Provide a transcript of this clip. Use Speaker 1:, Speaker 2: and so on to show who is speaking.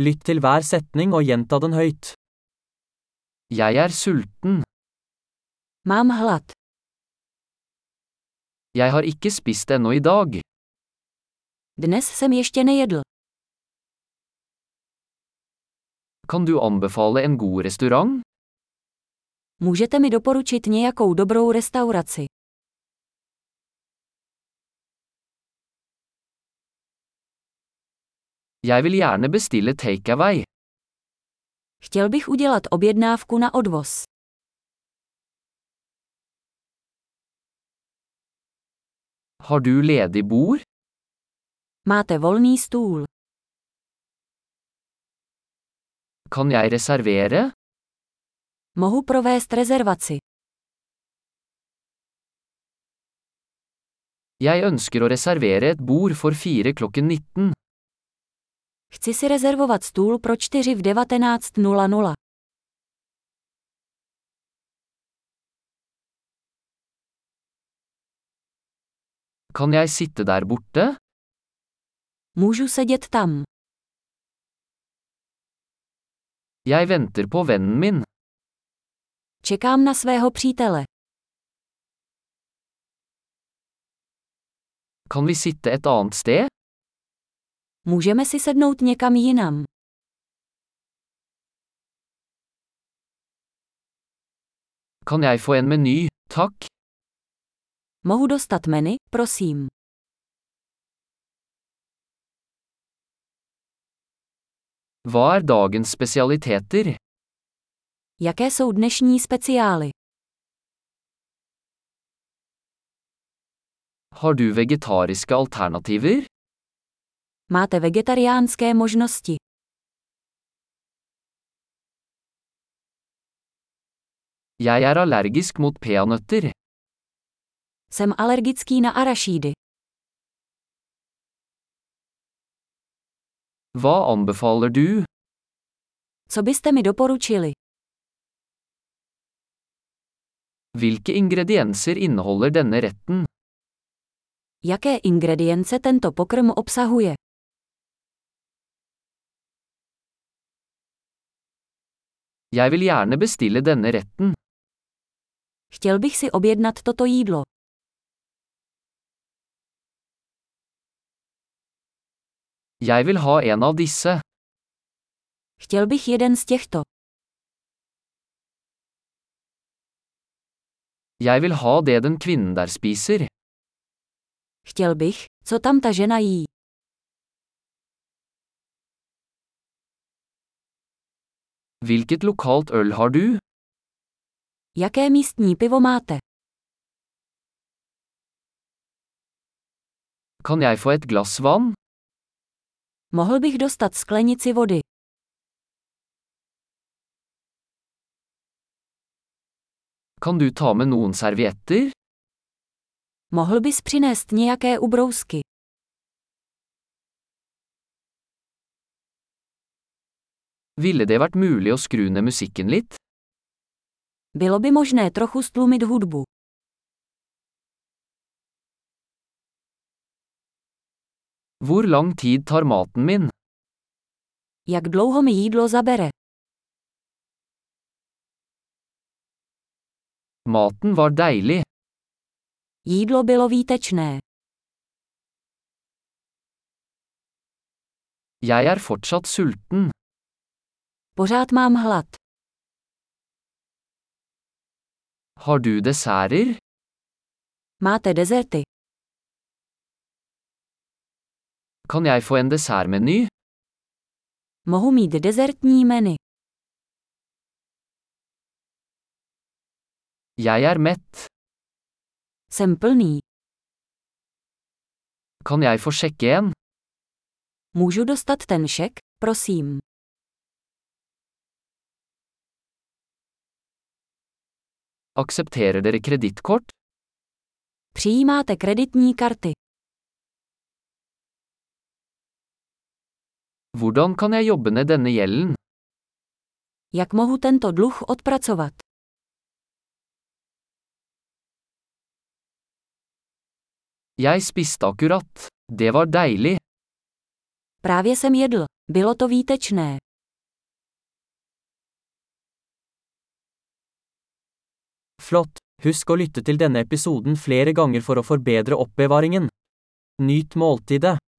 Speaker 1: Lytt til hver setning og gjenta den høyt. Jeg er sulten.
Speaker 2: Mám hlad.
Speaker 1: Jeg har ikke spist ennå i dag.
Speaker 2: Dnes jsem ještě nejedl.
Speaker 1: Kan du anbefale en god restaurant?
Speaker 2: Můžete mi doporučit nějakou dobrou restauraci?
Speaker 1: Jeg vil gjerne bestille takeaway.
Speaker 2: Chtěl bych udělat objednávku na odvoz.
Speaker 1: Har du ledig bord?
Speaker 2: Máte volný stůl.
Speaker 1: Kan jeg reservere?
Speaker 2: Mohu provést rezervaci.
Speaker 1: Jeg ønsker å reservere et bord for fire klokken 19.
Speaker 2: Chci si rezervovat stůl pro 4 v 19.00.
Speaker 1: Kan jeg sitte der borte?
Speaker 2: Můžu sedět tam.
Speaker 1: Jeg venter på vennen min.
Speaker 2: Čekám na svého přítele.
Speaker 1: Kan vi sitte et annet sted?
Speaker 2: Můžeme si sednout někam jinam.
Speaker 1: Kan jeg få en meny, takk?
Speaker 2: Mohu dostat menu, prosím.
Speaker 1: Hva er dagens spesialiteter?
Speaker 2: Jaké jsou dnešní speciály?
Speaker 1: Har du vegetariske alternativer?
Speaker 2: Máte vegetariánské možnosti.
Speaker 1: Jeg er allergisk mot peanøtter.
Speaker 2: Jsem alergický na arašídy.
Speaker 1: Hva anbefaler du?
Speaker 2: Co byste mi doporučili?
Speaker 1: Hvilke ingredienser inneholder denne retten?
Speaker 2: Jaké ingredience tento pokrm obsahuje?
Speaker 1: Jeg vil gjerne bestille denne retten.
Speaker 2: Chtěl bych si objednat toto jídlo.
Speaker 1: Jeg vil ha en av disse.
Speaker 2: Chtěl bych jeden z těchto.
Speaker 1: Jeg vil ha det den kvinnen der spiser.
Speaker 2: Chtěl bych, co tam ta žena jí.
Speaker 1: Hvilket lokalt øl har du?
Speaker 2: Jaké místní pivo máte?
Speaker 1: Kan jeg få et glass vann?
Speaker 2: Mohl bych dostat sklenici vody.
Speaker 1: Kan du ta med noen servietter?
Speaker 2: Mohl bys přinést nějaké ubrousky.
Speaker 1: Ville det vært mulig å skru ned musikken litt?
Speaker 2: Bylo by možné trochu stlumit hudbu.
Speaker 1: Hvor lang tid tar maten min?
Speaker 2: Jak dlouho mi jídlo zabere?
Speaker 1: Maten var deilig.
Speaker 2: Jídlo bylo výtečné.
Speaker 1: Jeg er fortsatt sulten.
Speaker 2: Pořád mám hlad.
Speaker 1: Har du desserter?
Speaker 2: Máte dezerty.
Speaker 1: Kan jeg få en dessertmeny?
Speaker 2: Mohu mít dezertní menu.
Speaker 1: Jeg er mett.
Speaker 2: Jsem plný.
Speaker 1: Kan jeg få sjekke en?
Speaker 2: Můžu dostat ten šek, prosím.
Speaker 1: Aksepterer dere kredittkort?
Speaker 2: Přijímáte kreditní karty.
Speaker 1: Hvordan kan jeg jobbe ned denne gjelden?
Speaker 2: Jak mohu tento dluh odpracovat?
Speaker 1: Jeg spiste akkurat. Det var deilig.
Speaker 2: Právě jsem jedl. Bylo to výtečné.
Speaker 1: Flott! Husk å lytte til denne episoden flere ganger for å forbedre oppbevaringen. Nyt måltidet.